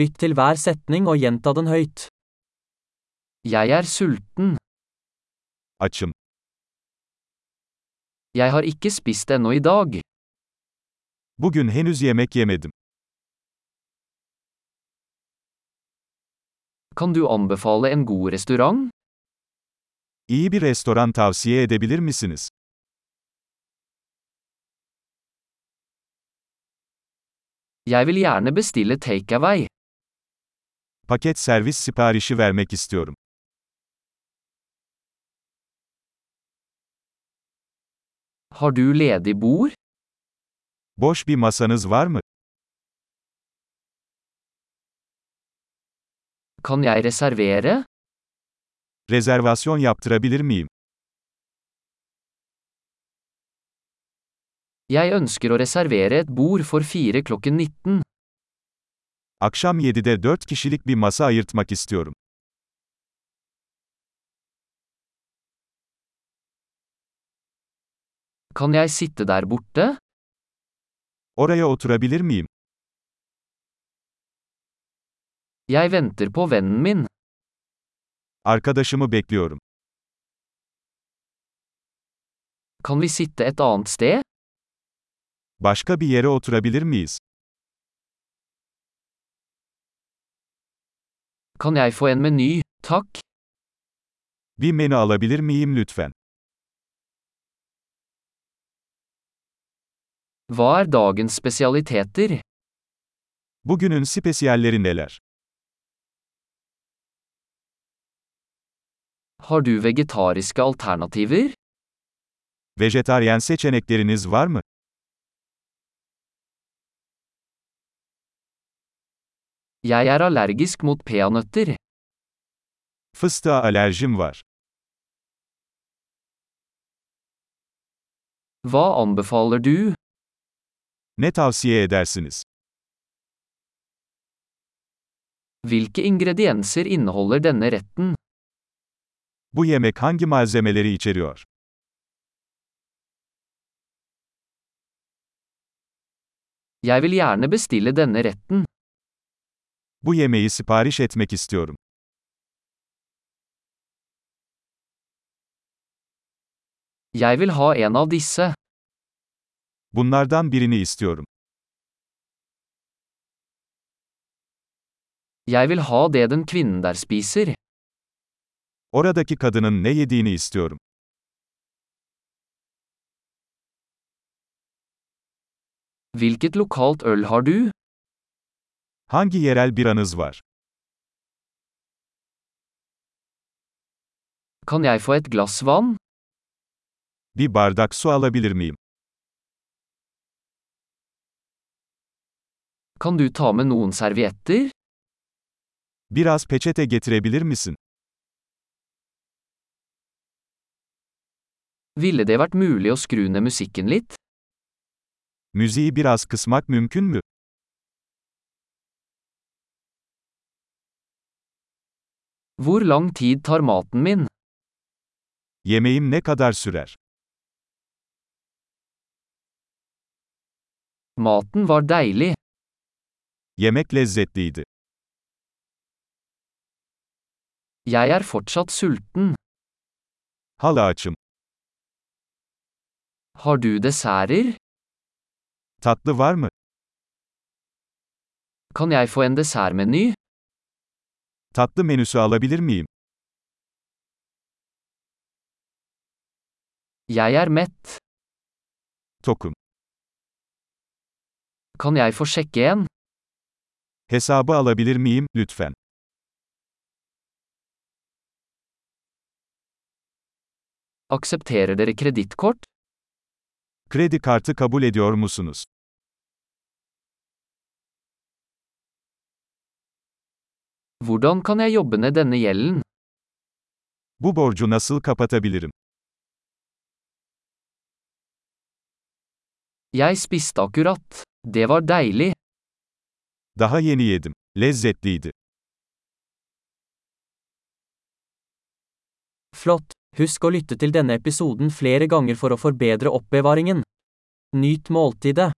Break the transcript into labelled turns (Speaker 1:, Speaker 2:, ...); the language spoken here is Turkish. Speaker 1: Lytt til hver setning og gjenta den høyt. Jeg er sulten.
Speaker 2: Açım.
Speaker 1: Jeg har ikke spist ennå i dag.
Speaker 2: Bugün henüz yemek yemedim.
Speaker 1: Kan du anbefale en god restaurant?
Speaker 2: İyi bir restoran tavsiye edebilir misiniz?
Speaker 1: Jeg vil gjerne bestille takeaway.
Speaker 2: Paket servis siparişi vermek istiyorum.
Speaker 1: Har du ledig bord?
Speaker 2: Boş bir masanız var mı?
Speaker 1: Kan jeg reservere?
Speaker 2: Rezervasyon yaptırabilir miyim?
Speaker 1: Jeg ønsker å reservere et bord for fire klokken 19.
Speaker 2: Akşam 7'de 4 kişilik bir masa ayırtmak istiyorum.
Speaker 1: Kan jeg sitte der borte?
Speaker 2: Oraya oturabilir miyim?
Speaker 1: Jeg venter på vennen min.
Speaker 2: Arkadaşımı bekliyorum.
Speaker 1: Kan vi sitte et annet sted?
Speaker 2: Başka bir yere oturabilir miyiz?
Speaker 1: Kan jeg få en meny? Takk.
Speaker 2: Bir menü alabilir miyim lütfen?
Speaker 1: Hva er dagens spesialiteter?
Speaker 2: Bugünün spesiyalleri neler?
Speaker 1: Har du vegetariske alternativer?
Speaker 2: Vejetaryen seçenekleriniz var mı?
Speaker 1: Jeg er allergisk mot peanøtter.
Speaker 2: Fıstığa alerjim var.
Speaker 1: Hva anbefaler du?
Speaker 2: Ne tavsiye edersiniz?
Speaker 1: Hvilke ingredienser inneholder denne retten?
Speaker 2: Bu yemek hangi malzemeleri içeriyor?
Speaker 1: Jeg vil gjerne bestille denne retten.
Speaker 2: Bu yemeği sipariş etmek istiyorum.
Speaker 1: Jeg vil ha en av disse.
Speaker 2: Bunlardan birini istiyorum.
Speaker 1: Jeg vil ha det den kvinnen der spiser.
Speaker 2: Oradaki kadının ne yediğini istiyorum.
Speaker 1: Hvilket lokalt øl har du?
Speaker 2: Hangi yerel biranız var?
Speaker 1: Kan jeg få et glass vann?
Speaker 2: Bir bardak su alabilir miyim?
Speaker 1: Kan du ta med noen servietter?
Speaker 2: Biraz peçete getirebilir misin?
Speaker 1: Ville det vært mulig å skru ned musikken litt?
Speaker 2: Müziği biraz kısmak mümkün mü?
Speaker 1: Hvor lang tid tar maten min?
Speaker 2: Yemeğim ne kadar sürer?
Speaker 1: Maten var deilig.
Speaker 2: Yemek lezzetliydi.
Speaker 1: Jeg er fortsatt sulten.
Speaker 2: Hala açım.
Speaker 1: Har du desserter?
Speaker 2: Tatlı var mı?
Speaker 1: Kan jeg få en dessertmeny?
Speaker 2: Tatlı menüsü alabilir miyim?
Speaker 1: Jeg er mett.
Speaker 2: Tokum.
Speaker 1: Kan jeg få sjekke en?
Speaker 2: Hesabı alabilir miyim, lütfen?
Speaker 1: Aksepterer dere kredittkort?
Speaker 2: Kredi kartı kabul ediyor musunuz?
Speaker 1: Hvordan kan jeg jobbe ned denne gjelden?
Speaker 2: Bu borcu nasıl kapatabilirim?
Speaker 1: Jeg spiste akkurat. Det var deilig.
Speaker 2: Daha yeni yedim. Lezzetliydi.
Speaker 3: Flott! Husk å lytte til denne episoden flere ganger for å forbedre oppbevaringen. Nyt måltidet.